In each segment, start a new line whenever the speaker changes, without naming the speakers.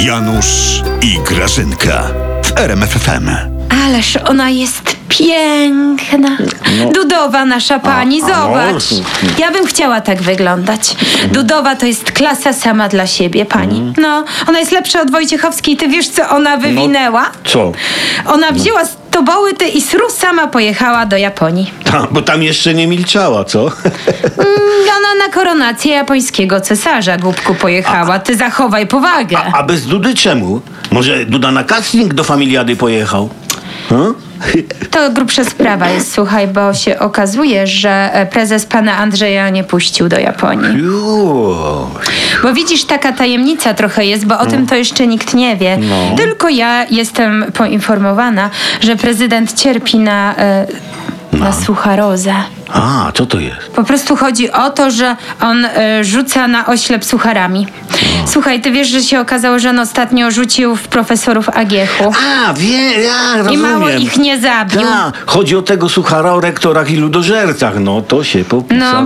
Janusz i Grażynka w RMFFM.
Ależ ona jest piękna. Dudowa nasza pani, zobacz. Ja bym chciała tak wyglądać. Dudowa to jest klasa sama dla siebie, pani. No, ona jest lepsza od Wojciechowskiej. Ty wiesz, co ona wywinęła?
Co?
Ona wzięła z toboły ty i sru sama pojechała do Japonii.
Ta, bo tam jeszcze nie milczała, co?
Ona na koronację japońskiego cesarza, głupku, pojechała. Ty zachowaj powagę.
A bez Dudy czemu? Może Duda na casting do familiady pojechał? Hmm?
To grubsza sprawa jest, słuchaj, bo się okazuje, że e, prezes pana Andrzeja nie puścił do Japonii.
Ju.
Bo widzisz, taka tajemnica trochę jest, bo o
Mm.
tym to jeszcze nikt nie wie.
No.
Tylko ja jestem poinformowana, że prezydent cierpi na, e, na sucharozę.
No. A, co to jest?
Po prostu chodzi o to, że on e, rzuca na oślep sucharami.
No.
Słuchaj, ty wiesz, że się okazało, że on ostatnio rzucił w profesorów Agiechu.
A, wie, ja rozumiem. Tak,
I mało ich nie zabił.
Ta, chodzi o tego suchara o rektorach i ludożercach. No, to się popisał.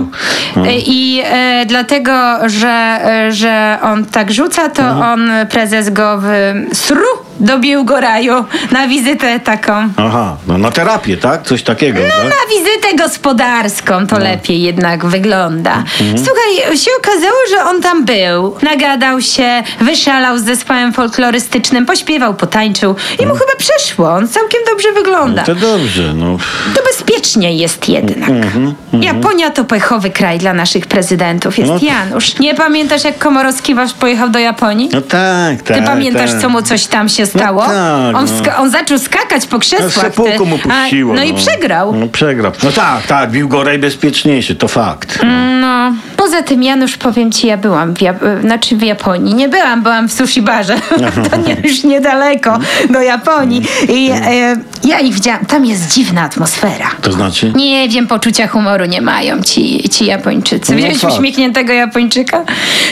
No e,
Hmm.
i e, dlatego, że, e, że on tak rzuca, to
Mhm.
on, e, prezes go w sru dobił go raju na wizytę taką.
Aha, no na terapię, tak? Coś takiego, tak? No.
Na wizytę gospodarską to lepiej jednak wygląda.
Mhm.
Słuchaj, się okazało, że on tam był. Nagadał się, wyszalał z zespołem folklorystycznym, pośpiewał, potańczył i mu chyba przeszło. On całkiem dobrze wygląda.
Mhm. To dobrze, no.
To bezpiecznie jest jednak.
Mhm,
Japonia to pechowy kraj dla naszych prezydentów, jest
No.
Janusz. Nie pamiętasz, jak Komorowski wasz pojechał do Japonii?
No tak, tak.
Ty pamiętasz,
tak.
co mu coś tam się stało?
tak,
on,
no.
ska- on zaczął skakać po krzesłach. ty.
Sepułko No, mu
A,
puściło.
no i przegrał.
No przegrał. No tak, tak, bił go bezpieczniejszy, to fakt.
No, poza tym, Janusz, powiem ci, ja byłam w, Jap- znaczy w Japonii. Nie byłam, byłam w sushi barze. to nie, już niedaleko do Japonii. I e, ja ich widziałam. Tam jest dziwna atmosfera.
To znaczy?
Nie wiem, poczucia humoru nie mają ci, ci Japończycy.
No
Widziałeś
tak.
uśmiechniętego Japończyka?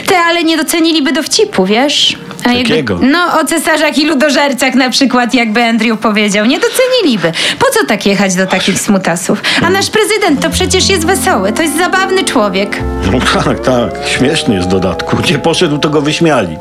Ty, ale nie doceniliby dowcipu, wiesz? A
Jakiego?
no, o cesarzach i ludożercach na przykład, jakby Andrew powiedział. Nie doceniliby. Po co tak jechać do takich smutasów? A nasz prezydent to przecież jest wesoły. To jest zabawny człowiek.
No tak, tak. Śmieszny jest w dodatku. Gdzie poszedł, to go wyśmiali.